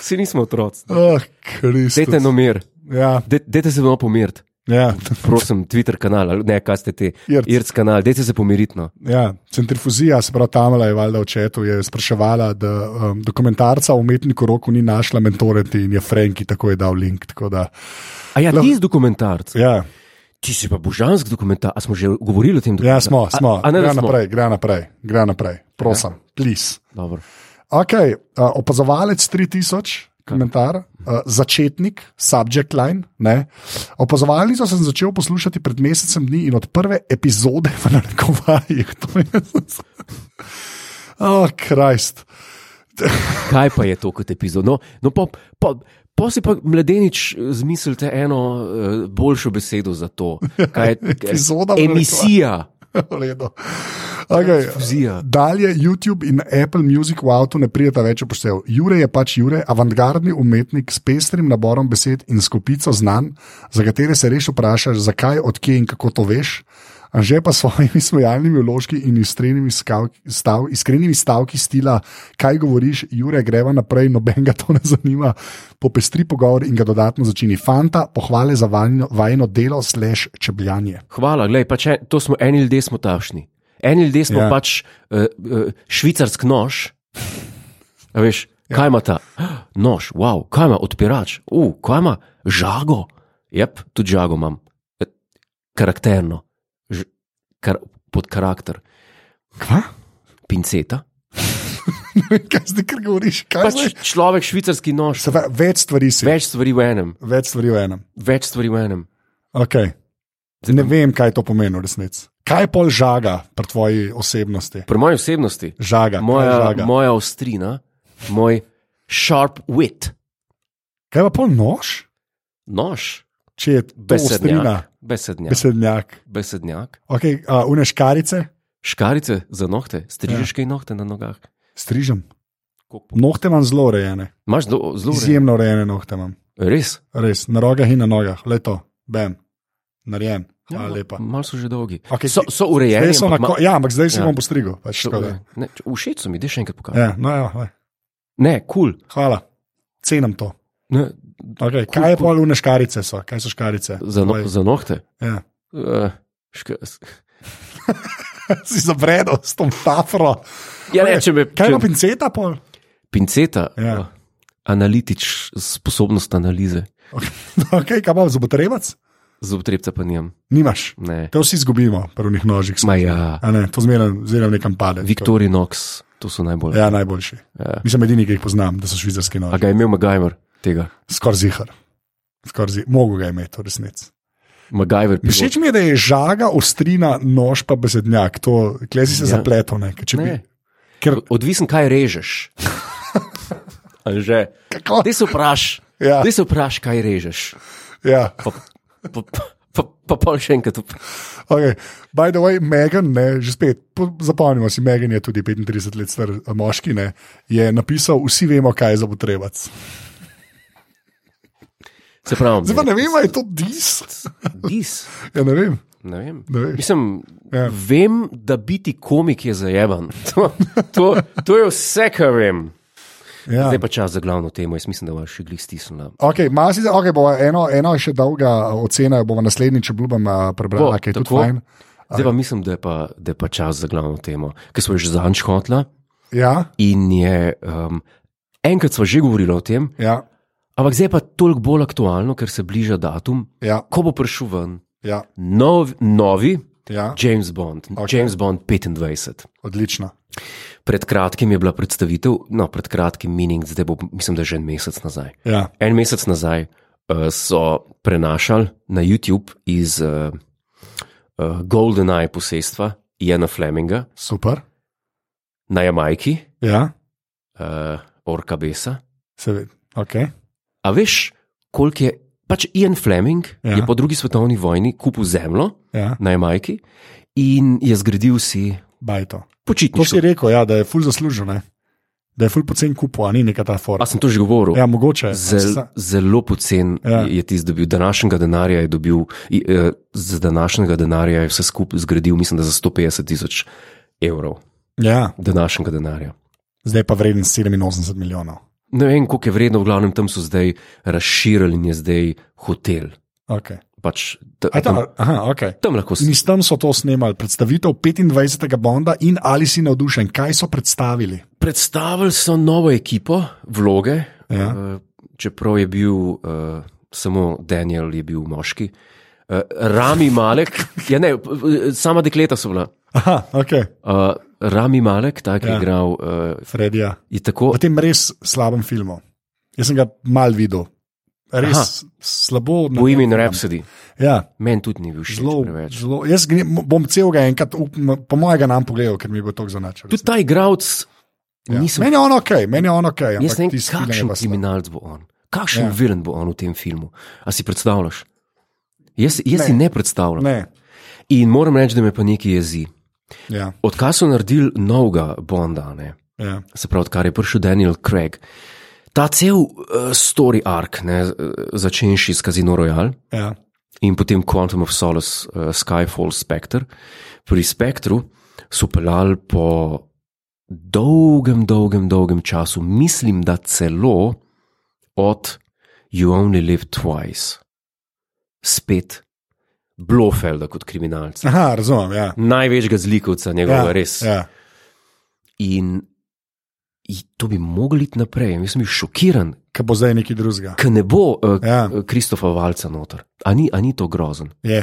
S1: vse nismo otroci.
S2: Oh,
S1: Dajte
S2: Kristus.
S1: no mir,
S2: Ja,
S1: Daj- dajte se malo pomiriti.
S2: ja,
S1: Prosim, Twitter kanal, ali ne, kaj ste ti,
S2: Irc.
S1: Irc kanal, dajte se pomiriti. No.
S2: ja. Centrifuzija, se pravi, tamela je valjda v četu, je spraševala, da um, dokumentarca o umetniku roku ni našla mentoriti in je Franki tako je dal link. tako Da,
S1: A ja, ti si dokumentarc,
S2: ja,
S1: ti si pa božanski dokumentarc, a smo že govorili o tem
S2: ja,
S1: dokumentarcu?
S2: smo, smo.
S1: A, a ne, da
S2: gre
S1: smo.
S2: naprej, gre naprej, gre naprej. Prosim, ja. please.
S1: Dobro.
S2: Okay, uh, opazovalec 3000, komentar, uh, začetnik, subject line. Ne. Opazovalnico sem začel poslušati pred mesecem dni in od prve epizode v narekovajih. [LAUGHS] To je. Oh, Krist.
S1: Kaj pa je to kot epizod? No, no pa, pa, pa si pa mladenič eh, zmislite eno eh, boljšo besedo za to. Kaj je
S2: [LAUGHS] Epizoda, bom
S1: Emisija.
S2: Okay.
S1: Fuzija.
S2: Dalje YouTube in Apple Music v avtu ne prijeta več upoštev. Jure je pač Jure, avantgardni umetnik s pestrim naborom besed in skupico znanj, za katere se reš vprašaš, zakaj, odkje in kako to veš. Anže pa s svojimi smejalnimi vložki in iskrenimi, skav, stav, iskrenimi stavki stila, kaj govoriš, Jure, greva naprej, noben ga to ne zanima. Popestri pogovor in ga dodatno začini fanta, pohvale za vajno, vajno delo, slash čebljanje.
S1: Hvala, glej, pač en, to smo eni ljudje, smo takšni. Eni ljudje smo ja.
S2: Ja.
S1: pač uh, uh, švicarsk nož. A veš, ja. kaj ima ta "Ah, nož, wow, kaj ima odpirač, uh, kaj ima žago. Jep, tudi žago imam. Eh, Karakterno, Ž, kar, pod karakter,
S2: Kva?
S1: pinceta.
S2: [LAUGHS] Kaj zdaj, ker govoriš? Kaj zdaj?
S1: Pač človek, švicarski nož,
S2: Se pravi, več stvari si, več,
S1: več stvari v enem,
S2: več stvari v enem.
S1: več stvari v enem.
S2: Okay. Ne vem, kaj to pomeni v resnici. Kaj je pol žaga pri tvoji osebnosti?
S1: Pri moji osebnosti,
S2: Žaga, moja
S1: moja,
S2: žaga. Moj...
S1: moja ostrina, moj sharp wit,
S2: Kaj pa pol nož,
S1: nož,
S2: če je to ostrina,
S1: besednjak, Ja. besednjak,
S2: besednjak.
S1: besednjak.
S2: Okay, uh, une škarice,
S1: Škarice za nohte, strižeš kaj nohte na nogah.
S2: strižem. Nohte imam zelo urejene,
S1: Imáš zelo zelo urejene.
S2: izjemno urejene nohte imam.
S1: Res.
S2: Res, na rogah in na nogah, le to, bam, narejen.
S1: Ja,
S2: Hvala Ja,
S1: no.
S2: lepa.
S1: Malo so že dolgi.
S2: Okej,
S1: so,
S2: ti-
S1: so urejeni.
S2: Zdaj so na
S1: ampak
S2: ko-
S1: ma-
S2: Ja, ampak zdaj si
S1: Ja.
S2: bom postrigel. Pač,
S1: so
S2: tako da.
S1: urejeni. Ne, č- Všeč so mi, da še enkrat pokažem.
S2: ja, no, ja, le.
S1: Ne, kul.
S2: Hvala, cenim to.
S1: Cool.
S2: Okay,
S1: Kul,
S2: kaj je
S1: kul.
S2: polune škarice? So? Kaj so škarice?
S1: Za, no,
S2: Povej.
S1: za nohte.
S2: Ja. [LAUGHS]
S1: Uh, ška, s-
S2: si zabredel s tom tafro.
S1: ja,
S2: Povej,
S1: ne, če me,
S2: Kaj
S1: če,
S2: ima pinceta? Pol? [LAUGHS]
S1: pinceta,
S2: Ja.
S1: ja. analitič, sposobnost analize,
S2: Okay, kaj ima zobotrebac?
S1: zobtrebca pa nimam.
S2: Nimaš.
S1: Ne.
S2: To vsi izgubimo, prvih nožih.
S1: Ma ja,
S2: A Ne, to zmeraj zmeraj nekam pade.
S1: Victorinox, to so najbolj.
S2: Ja, najboljši.
S1: Ja.
S2: Nisem edini, ki jih poznam, da so
S1: A
S2: švicarski noži.
S1: ga je imel Magajver, tega.
S2: Skoraj zihar. Skor zi... Mogo ga je imeti, v resnici.
S1: Magajver,
S2: Všeč mi je, da je žaga, ostrina, nož pa besednjak. To klezi
S1: Ja.
S2: se ja. zapletel. Ne, ker če
S1: Ne.
S2: bi, ker,
S1: Odvisen, kaj
S2: [LAUGHS]
S1: režeš. Anže.
S2: kako,
S1: Dej se vpraš,
S2: Ja.
S1: dej se vpraš, kaj režeš.
S2: ja.
S1: Pa, pa, pa, pa, pa še enkrat. vp-
S2: okay. By the way, Megan, ne, že spet po- zapomnimo si, Megan je tudi 35 let star eh, moški, ne, je napisal: Vsi vemo, kaj je za potrebac.
S1: Se pravi,
S2: Zdaj pa ne vem, ali je to dis.
S1: Dis,
S2: Ja, ne vem.
S1: ne vem.
S2: Ne vem.
S1: Mislim,
S2: Ja.
S1: ja. vem, da biti komik je zajeban. [LAUGHS] To, to, to je vse, kar vem.
S2: Ja.
S1: Zdaj pa čas za glavno temo. Jaz mislim, da vas še glih stisnila.
S2: Okay, masi, okay, bova, eno, eno je še dolga eh, ocena, jo bomo naslednjič obljubim
S1: Bo,
S2: prebrali, kaj eh, je tudi
S1: tako.
S2: fajn.
S1: Zdaj pa mislim, da je pa, da je pa čas za glavno temo, ki smo jo že zanj škotla
S2: Ja,
S1: in je. Um, enkrat smo že govorili o tem,
S2: ja,
S1: ampak zdaj je pa toliko bolj aktualno, ker se bliža datum,
S2: ja,
S1: ko bo prišel ven
S2: ja,
S1: nov, novi
S2: ja.
S1: James Bond,
S2: Okay.
S1: okay. James Bond 25.
S2: odlično.
S1: Pred kratkim je bila predstavitev, no, pred kratkim meaning, zdaj bo, mislim, da že en mesec nazaj.
S2: Ja.
S1: En mesec nazaj uh, so prenašali na YouTube iz uh, uh, GoldenEye posestva Jana Fleminga
S2: Super.
S1: na Jamajki,
S2: Ja,
S1: uh, Orka Besa.
S2: seveda. Okay.
S1: A veš, koliko je. Pač Ian Fleming
S2: Ja.
S1: ja. je po drugi svetovni vojni kupil zemljo
S2: Ja,
S1: na Jamajki in je zgradil si
S2: bajto. To si
S1: počitniško.
S2: rekel, ja, da je ful zaslužil, ne? da je ful pocen kupu, a ni neka ta forma.
S1: A sem to že govoril?
S2: Ja, mogoče. je.
S1: Zel, zelo pocen
S2: Ja.
S1: ja. je tisti dobil. Današnjega denarja je dobil, i- eh, z današnjega denarja je vse skupaj zgradil, mislim, da za 150 tisoč evrov.
S2: Ja,
S1: Današnjega denarja.
S2: zdaj je pa vreden 87 milijonov.
S1: Ne vem, koliko je vredno, v glavnem tam so zdaj razširili in je zdaj hotel.
S2: Okay.
S1: Pač, ta,
S2: A,
S1: tam,
S2: ta, Ja, aha, okay.
S1: tam lahko
S2: In
S1: si.
S2: s tem so to snemali, predstavitev 25. Bonda in ali si navdušen, kaj so predstavili.
S1: Predstavili so novo ekipo, vloge,
S2: Ja.
S1: eh, čeprav je bil eh, samo Daniel, je bil moški. Eh, Rami
S2: [LAUGHS]
S1: Malek, ja ne, p- p- sama dekleta so bila.
S2: Aha, ok,
S1: Uh, Rami Malek, ta, ki
S2: Ja.
S1: je igral, uh,
S2: Fredija.
S1: je tako.
S2: V tem res slabem filmu. Jaz sem ga mal videl, res Aha. slabo. na-
S1: Bohemian Rhapsody.
S2: Ja,
S1: Meni tudi ni bil všeč
S2: zelo,
S1: preveč.
S2: zelo. Jaz gre- bom celega enkrat, upam, po mojega nam pogledal, ker mi bo to zanačal.
S1: Tudi ta igralec, ja. nisem.
S2: Meni je ono ok, meni je ono ok.
S1: Jaz ne
S2: ampak
S1: vem,
S2: tisti film je
S1: kakšen
S2: pa slab.
S1: kriminalc bo on, kakšen
S2: Ja.
S1: ja. vilen bo on v tem filmu. A si predstavljaš? Jaz, jaz ne. si ne predstavljam. Ne.
S2: Ne,
S1: In moram reči, da me pa nekaj jezi.
S2: ja,
S1: Odkar so naredili novega Bonda, ne?
S2: ja,
S1: se pravi, odkar je prišel Daniel Craig, ta cel uh, story arc, ne, eh, začenši s Casino Royale,
S2: ja.
S1: in potem Quantum of Solace, uh, Skyfall, Spectre. Pri Spectru so pelali po dolgem, dolgem, dolgem času, mislim, da celo od You Only Live Twice, spet Blofelda kot kriminalca.
S2: Aha, razumem. Ja.
S1: Največjega zlikovca njegovega,
S2: Ja,
S1: ja, res. Ja.
S2: ja.
S1: In, in to bi mogli iti naprej. Jaz sem bil šokiran,
S2: Kaj bo zdaj neki drugega?
S1: ker ne bo uh,
S2: Ja.
S1: ja. Kristofa Valca noter. A ni, a ni to grozen?
S2: Je.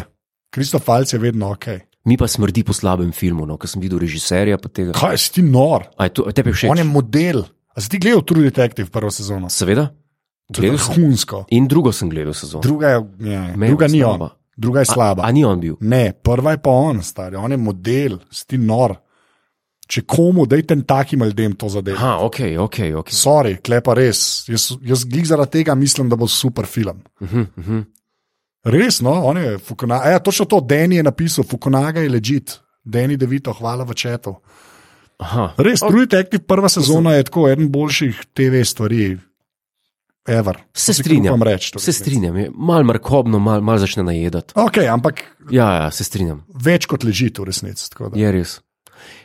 S2: Kristof Falc je vedno ok.
S1: Mi pa smrdi po slabem filmu, no, ker sem videl režiserja. pa Tega.
S2: Kaj si ti nor?
S1: A je to, a tebi je
S2: On je
S1: všeč?
S2: model. A si ti gledal True Detective prvo sezono?
S1: Seveda,
S2: To je
S1: gledal sem.
S2: hunsko.
S1: In drugo sem gledal sezono.
S2: Druga je, je,
S1: Me je
S2: druga ni on,
S1: slaba.
S2: druga je slaba.
S1: A, a ni on bil.
S2: Ne, prva je pa on, star, on je model, si ti nor. Če komu, dajte takim ljudem to zadevo.
S1: Aha, ok, ok. okay.
S2: Sorry, klepa res. Jaz, jaz glih zaradi tega mislim, da bo super film.
S1: Uh -huh, uh -huh.
S2: Res, no, on je Fukunaga. Ja, točno to, Dani je napisal, Fukunaga je ležit, Dani Devito, hvala v četu.
S1: Aha.
S2: Res, True Detective prva sezona je tako eden boljših TV stvari. Ever.
S1: Se strinjam,
S2: reč,
S1: se strinjam, je malo markobno, malo mal začne najedati.
S2: Okay, ampak
S1: Ja, ja, se strinjam,
S2: več kot leži v resnici. tako da.
S1: je res.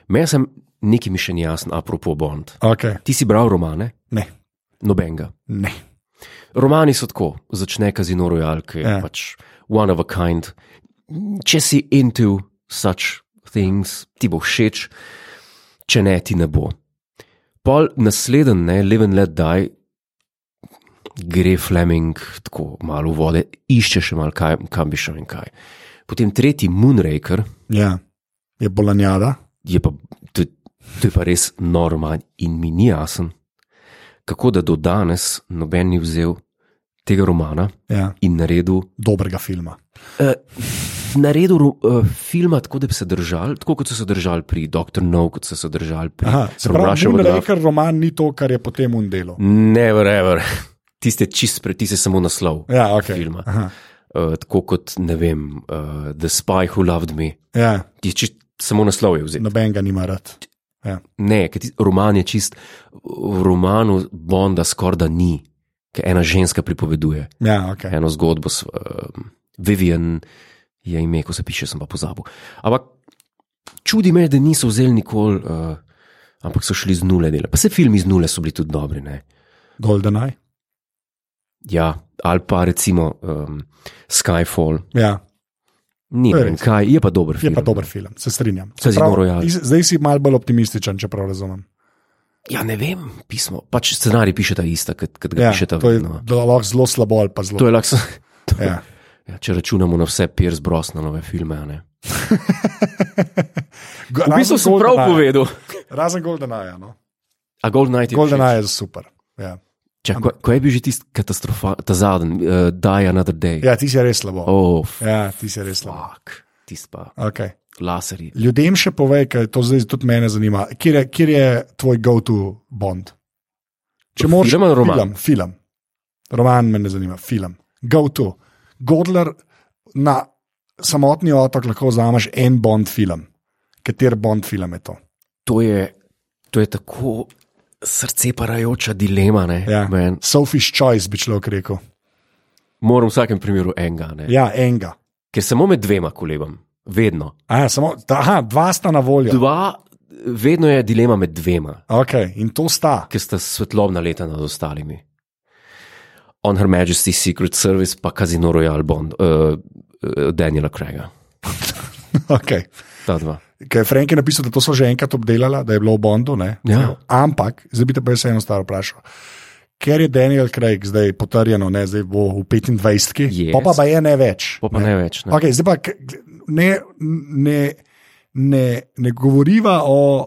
S1: Meni sem nekaj mi še ni jasno, apropo Bond.
S2: Okay.
S1: Ti si bral romane,
S2: Ne,
S1: nobenega.
S2: ne.
S1: Romani so tako, začne Kazino Royal, ki je
S2: Ja.
S1: yeah. pač one of a kind. Če si into such things, ti bo všeč, če ne, ti ne bo. Pol naslednji, ne, live and let die, gre Fleming tako malo v vode, išče še malo, kaj, kam bi šel in kaj. Potem tretji Moonraker
S2: Ja. Je bolanjada.
S1: je pa, to, je- to je pa res norman in mi ni jasen, kako da do danes noben ni vzel tega romana
S2: Ja.
S1: in naredil,
S2: Dobrega filma.
S1: uh, naredil uh, filma tako, da bi se držali, tako kot so se držali pri Dr. No, kot so se držali pri
S2: Aha, se
S1: From
S2: pravi,
S1: Russia with Love.
S2: Moonraker roman ni to, kar je potem un delo.
S1: Never ever. [LAUGHS] Tiste čist pred, tiste samo naslov
S2: Ja, okay.
S1: filma.
S2: Aha,
S1: Uh, tako kot, ne vem, uh, The Spy Who Loved Me.
S2: ja,
S1: Ti čist samo naslov je vzel.
S2: noben ga nima rad.
S1: Ne, ker ti, roman je čist, v romanu Bonda skorda ni, ker ena ženska pripoveduje
S2: Ja, okay.
S1: eno zgodbo. S, um, Vivian je ime, ko se piše, sem pa pozabil. Ampak čudi me, da niso vzeli nikoli, uh, ampak so šli z nule dela. Pa se filmi z nule so bili tudi dobri. Ne?
S2: Golden Eye.
S1: Ja, ali pa recimo um, Skyfall,
S2: Ja,
S1: ni
S2: To je
S1: vem
S2: res.
S1: kaj, je pa dober film.
S2: je pa dober film, se strinjam. Se
S1: Casino
S2: pravi,
S1: Royale.
S2: iz- zdaj si malo bolj optimističen, če prav razumem.
S1: Ja, ne vem, pismo. Pač scenarij piše ta ista, kot, kot ga
S2: Ja,
S1: ja, piše ta
S2: to je
S1: vedno.
S2: da lahko zelo slabo ali pa zelo. [LAUGHS]
S1: To je lahko. to-
S2: Ja.
S1: Ja, če računamo na vse Piers Brosnanove filme. a ne.
S2: Go-
S1: V bistvu
S2: razen
S1: sem
S2: Golden
S1: prav
S2: Eye.
S1: povedal.
S2: Razen Golden Eye. No.
S1: A Golden Knight je
S2: Golden
S1: všeč.
S2: Eye je super. Ja.
S1: Čak, ko, ko je bil že tisti katastrofalen, ta zadnji, uh, Die Another Day.
S2: ja, ti si res slabo.
S1: Oh, fuck,
S2: Ja, ti si res slabo.
S1: tisti pa,
S2: Okay.
S1: laserji.
S2: Ljudem še povej, ker to zdaj tudi mene zanima. Kje je, kjer je tvoj go-to Bond? Če moraš,
S1: Film ali roman?
S2: Film, film. Roman me ne zanima, film. Go-to. Godler na samotni otok lahko vzameš en Bond film. Kater Bond film je to?
S1: To je, to je tako srce parajoča dilema. ne,
S2: Ja.
S1: men.
S2: Sophie's Choice bi človek rekel.
S1: Moram v vsakem primeru enega, ne.
S2: Ja, enega.
S1: ker samo med dvema kolebam, vedno.
S2: Aha, samo, aha, dva sta na voljo.
S1: Dva, vedno je dilema med dvema,
S2: Okay, in to sta. [LAUGHS]
S1: ker sta svetlobna leta nad ostalimi. On Her Majesty's Secret Service, pa Casino Royale Bond, uh, uh, Daniela Craiga.
S2: Okay.
S1: Ta dva.
S2: Ker je Frank je napisal, da to so že enkrat obdelala, da je bilo v Bondu. Ne?
S1: Ja.
S2: Ampak, zdaj bi te pa jaz eno stvar vprašal. Ker je Daniel Craig zdaj potrjeno, ne, zdaj bo v 25,
S1: Yes.
S2: pa pa je ne več.
S1: Pa, pa ne več. Ne.
S2: Okay, zdaj pa k- ne, ne, ne, ne govoriva o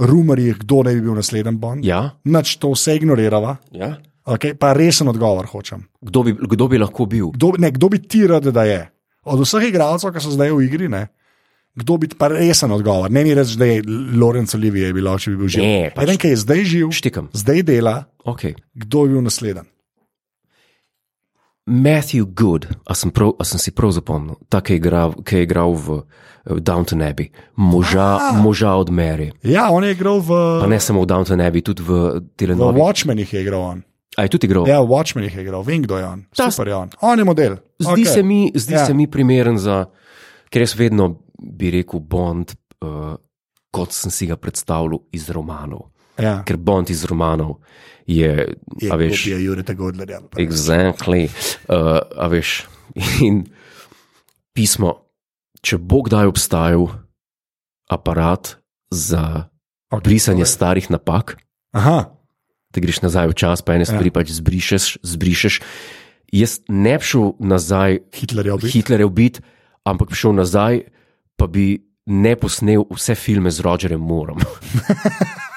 S2: rumorjih, kdo naj bi bil naslednji Bond.
S1: Ja,
S2: Nač to vse ignorirava,
S1: ja.
S2: okay, pa resen odgovor hočem.
S1: Kdo, bi, kdo bi lahko bil?
S2: Kdo, ne, kdo bi ti rad, da je? Od vseh igralcev, ki so zdaj v igri, ne, kdo bi pa resen odgovor? Ne mi reči, da je Lorenzo Olivier bilo, če bi bil živ.
S1: Ne, pač-
S2: Eden, ki je zdaj živ,
S1: Štikam.
S2: zdaj dela,
S1: Okay.
S2: kdo je bil nasleden.
S1: Matthew Good, a sem, prav, a sem si prav zapomnil, ta, ki je igral, ki je igral v, v Downton Abbey, moža, moža od Mary.
S2: Ja, on je igral v,
S1: Pa ne samo v Downton Abbey, tudi v
S2: v
S1: Telenovi.
S2: Watchmenih je igral on.
S1: A je tudi igral?
S2: Ja, v Watchmenih je igral, vem kdo je on.
S1: Ta-
S2: Super je on. On je model.
S1: Zdi,
S2: Okej.
S1: okay. se, mi, zdi
S2: Ja.
S1: ja. se mi primeren za, ker jaz vedno bi rekel Bond, uh, kot sem si ga predstavljal iz romanov.
S2: Ja.
S1: Ker Bond iz romanov je,
S2: Je
S1: a veš,
S2: kopija Jureta Godlerja.
S1: Exactly. Uh, a veš, [LAUGHS] in pismo, če bo kdaj obstajal aparat za
S2: Ok,
S1: brisanje
S2: povej.
S1: starih napak,
S2: Aha,
S1: da greš nazaj v čas, pa ene stvari ja. pač zbrišeš, zbrišeš. Jaz ne bi šel nazaj,
S2: Hitler je običajen.
S1: Hitlerjev bit, ampak bi šel nazaj, pa bi ne posnel vse filme z Rogerjem
S2: [LAUGHS]
S1: Moorom.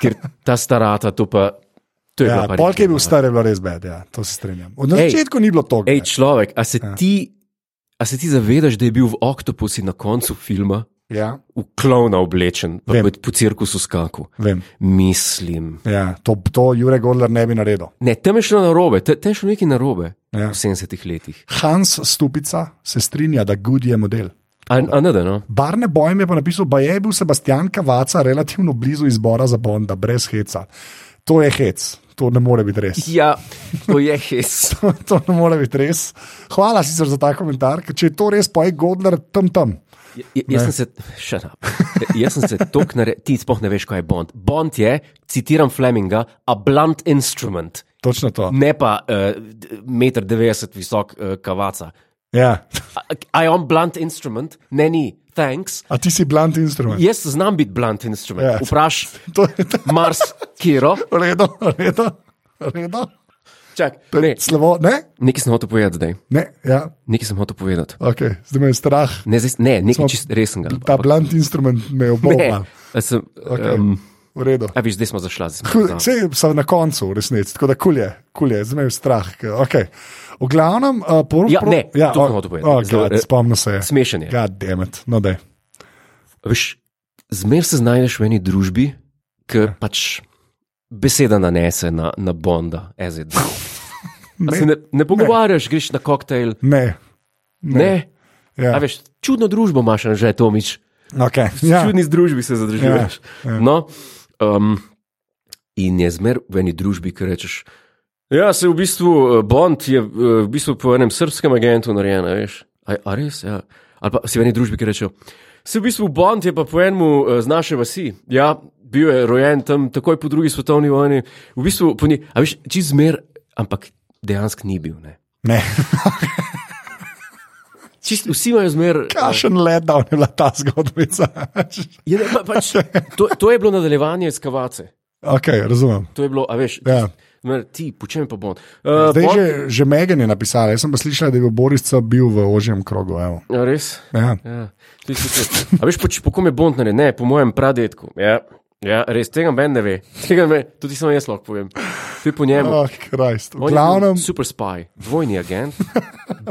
S1: Ker ta starata, to pa. To je bila
S2: Ja,
S1: pa no.
S2: Polk je
S1: reklama.
S2: bil star, je bilo res bed, ja, to se strinjam. Od- Na
S1: Ej,
S2: začetku ni bilo to.
S1: Ej, človek, a se,
S2: Ja.
S1: ti, a se ti zavedaš, da je bil v Octopusu na koncu filma
S2: Ja,
S1: v klovna oblečen, pa
S2: Vem.
S1: po, po cirkusu skaku.
S2: vem.
S1: Mislim.
S2: Ja, to, to Jurek Godler ne bi naredil.
S1: Ne, tam je šlo na robe, tam je šlo nekaj na robe ja.
S2: Ja.
S1: v 70-ih letih.
S2: Hans Stupica se strinja, da Good je model.
S1: A, a ne, da no.
S2: Barne Bojem je pa napisal, da je bil Sebastian Kavaca relativno blizu izbora za Bonda, brez heca. To je hec, to ne more biti res. [LAUGHS]
S1: Ja, to je hes.
S2: To, to ne more biti res. Hvala sicer za ta komentar, ker če je to res, pa je Godler tam tam.
S1: J- Ja, Jaz sem se, še na. Jaz sem se tok naredil, ti sploh ne veš, kaj je Bond. Bond je, citiram Fleminga, a blunt instrument,
S2: Točno to.
S1: ne pa uh, 1,90 m visok uh, kavaca.
S2: Ja.
S1: A- A je on blunt instrument? Ne, ni, thanks.
S2: A ti si blunt instrument.
S1: Jaz znam biti blunt instrument.
S2: Ja.
S1: Yeah. Vpraš,
S2: [LAUGHS] To je to.
S1: Mars, Kiro.
S2: Redo, redo, redo.
S1: Čak, ne,
S2: Slabo, ne?
S1: nekaj sem hotel povedati zdaj.
S2: Ne, ja,
S1: Nekaj sem hotel povedati.
S2: okay. zdaj me je strah.
S1: Ne, zdaj, ne nekaj
S2: Smo-
S1: čist resnega.
S2: Ta blunt instrument me obova.
S1: a sem,
S2: Okay.
S1: okay. um,
S2: V redu.
S1: a viš, zdaj smo zašli. zdaj smo
S2: Kul-
S1: zašla.
S2: Saj so na koncu, v resnici, tako da kulje, kulje, zdaj me je strah. ke- Okay. V glavnem, uh, por,
S1: Ja,
S2: por,
S1: ne, to
S2: o-
S1: sem hotel povedati.
S2: o,
S1: Zelo,
S2: God,
S1: eh,
S2: Spomnil se je.
S1: Smešen je.
S2: Gademet, no da.
S1: Veš, zmer se znajdeš v eni družbi, ki pač beseda nanese na, na Bonda, ezid. [LAUGHS] Ne, ne, ne pogovarjaš, ne. greš na koktejl.
S2: Ne,
S1: Ne.
S2: ja.
S1: A veš, čudno družbo imaš, že Tomič.
S2: okay.
S1: Ja.
S2: ja.
S1: Čudni združbi se zadržuješ.
S2: Ja,
S1: Ja,
S2: ja.
S1: ja. No, um, in je zmer v eni družbi, ki rečeš. Ja, se v bistvu eh, Bond je eh, v bistvu po enem srpskem agentu narejen, a veš. A, a res? Ja. Ali pa si v eni družbi, ki rečejo. Se v bistvu Bond je pa po enem z naše vasi. Ja, bil je rojen tam takoj po drugi svetovni vojni. V bistvu, po nje, a veš, čez zmer, ampak dejansko ni bil. Ne.
S2: ne.
S1: Čist, vsi imajo zmer.
S2: Kašen let, da je bila ta zgodbica. [LAUGHS]
S1: Je, ne, pa, pač, to, to je bilo nadaljevanje skavace.
S2: okay, razumem.
S1: To je bilo, a veš,
S2: Ja.
S1: ja. ti, po čem pa bom. Uh,
S2: Zdaj
S1: bom
S2: že, že Megan je napisala, jaz sem pa slišala, da je bil Boris C. bil v ožjem krogu. evo.
S1: Ja, res.
S2: Ja.
S1: Ja. Ti si ti. A veš, po, č- po kom je Bond narejen? Ne, po mojem pradetku. Ja. Ja, res, tega meni ne ve. [LAUGHS] Tega me, tudi samo jaz lahko povem. To je po njemu.
S2: Oh, Krist. V
S1: On je bil
S2: glavnem,
S1: Super spy, dvojni agent,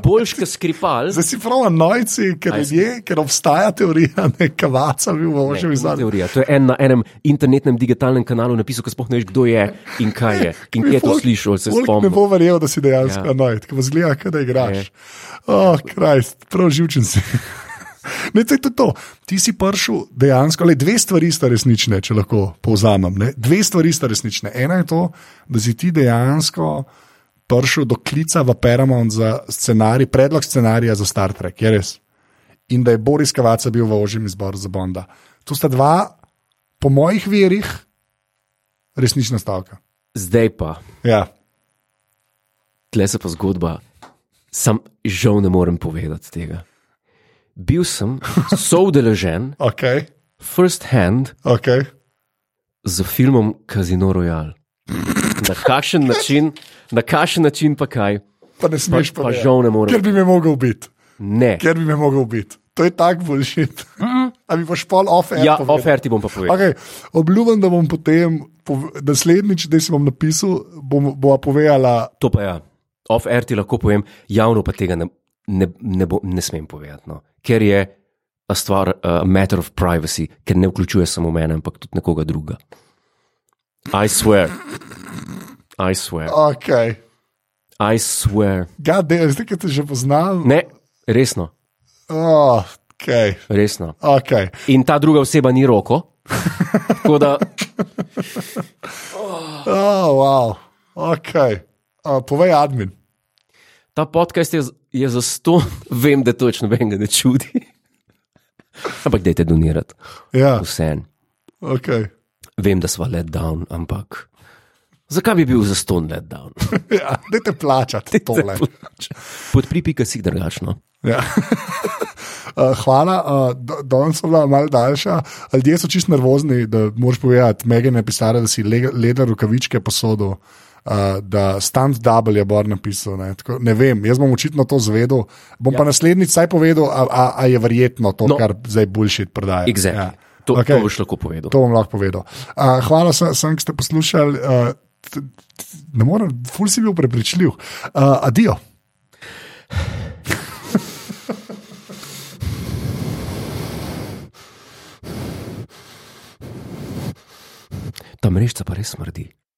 S1: boljši skripal.
S2: [LAUGHS] Zdaj si prav nojci, ker ljudje, ker obstaja teorija, da je kavaca bil v
S1: Ne, to
S2: ožjem
S1: ni
S2: zadnjem.
S1: Teorija. To je en na enem internetnem digitalnem kanalu napisal, ki sploh ne veš, kdo je in kaj je. In kje je to slišal, ali se
S2: Ne
S1: spomnim.
S2: bo verjel, da si dejansko
S1: Ja.
S2: ja. nojt, ki vas gleda, kaj da
S1: Ja.
S2: igraš. Oh, Krist, prav živčen si. [LAUGHS] Ne, to je tudi to. Ti si prišel dejansko, le dve stvari sta resnične, če lahko povzamem. Ne? Dve stvari sta resnične. Ena je to, da si ti dejansko prišel do klica v Paramount za scenarij, predlog scenarija za Star Trek, je res. In da je Boris Kavaca bil v ožjem izboru za Bonda. To sta dva, po mojih verjih, resnična stavka.
S1: Zdaj pa,
S2: Ja.
S1: tle se pa zgodba, sam žal ne morem povedati tega. Bil sem soudeležen,
S2: Okay,
S1: first hand,
S2: okay.
S1: z filmom Casino Royale. Na kakšen način, na kakšen način pa kaj,
S2: Pa ne smeš
S1: pa
S2: povedati.
S1: žal ne morem.
S2: Ker bi me mogel biti,
S1: Ne.
S2: ker bi me mogel biti. To je tak bolšit. A mi boš pol off-air.
S1: Ja,
S2: povedal?
S1: ofer ti bom pa povedal.
S2: Okay, obljubim, da bom potem, pov- naslednjič, da si bom napisal, bom, bova povedala,
S1: To pa ja, off-air ti lahko povem, javno pa tega ne, ne, ne, bo, ne smem povedati, no. ker je a stvar, a matter of privacy, ker ne vključuje samo mene, ampak tudi nekoga drugega. I swear. I swear.
S2: ok,
S1: I swear.
S2: gade, zdaj, ki te že poznam.
S1: Ne, resno,
S2: Oh, ok,
S1: resno.
S2: ok.
S1: In ta druga oseba ni roko. Tako da,
S2: Oh, wow. okay. uh, povej, admin.
S1: ta podcast je, z- je za sto, [LAUGHS] vem, da točno nobenega ne čudi. Ampak dajte donirati,
S2: Ja,
S1: vseeno.
S2: okay.
S1: Vem, da smo let down, ampak zakaj bi bil za ston let down?
S2: [LAUGHS] ja, dajte plačati tole.
S1: Podpripika si drugačno.
S2: Ja. [LAUGHS] Uh, hvala, uh, do- danes so bila malo daljša. Ljudje so čist nervozni, da moraš povedati, Megan je pisala, da si le, leder rokavičke posodil, uh, da stand double je Bor napisal. Ne, Tako, ne vem, jaz bom očitno to zvedel. Bom ja. pa naslednjič saj povedal, a, a, a je verjetno to,
S1: No.
S2: no. kar zdaj boljši prodaja.
S1: Exactly. Ja. To, okay.
S2: Okej.
S1: to boš lahko povedal.
S2: To bom lahko povedal. Uh, hvala sem, sem ki ste poslušali. Uh, t- t- ne morem, ful si bil prepričljiv. Uh, adijo.
S1: mrešca pa res smrdi.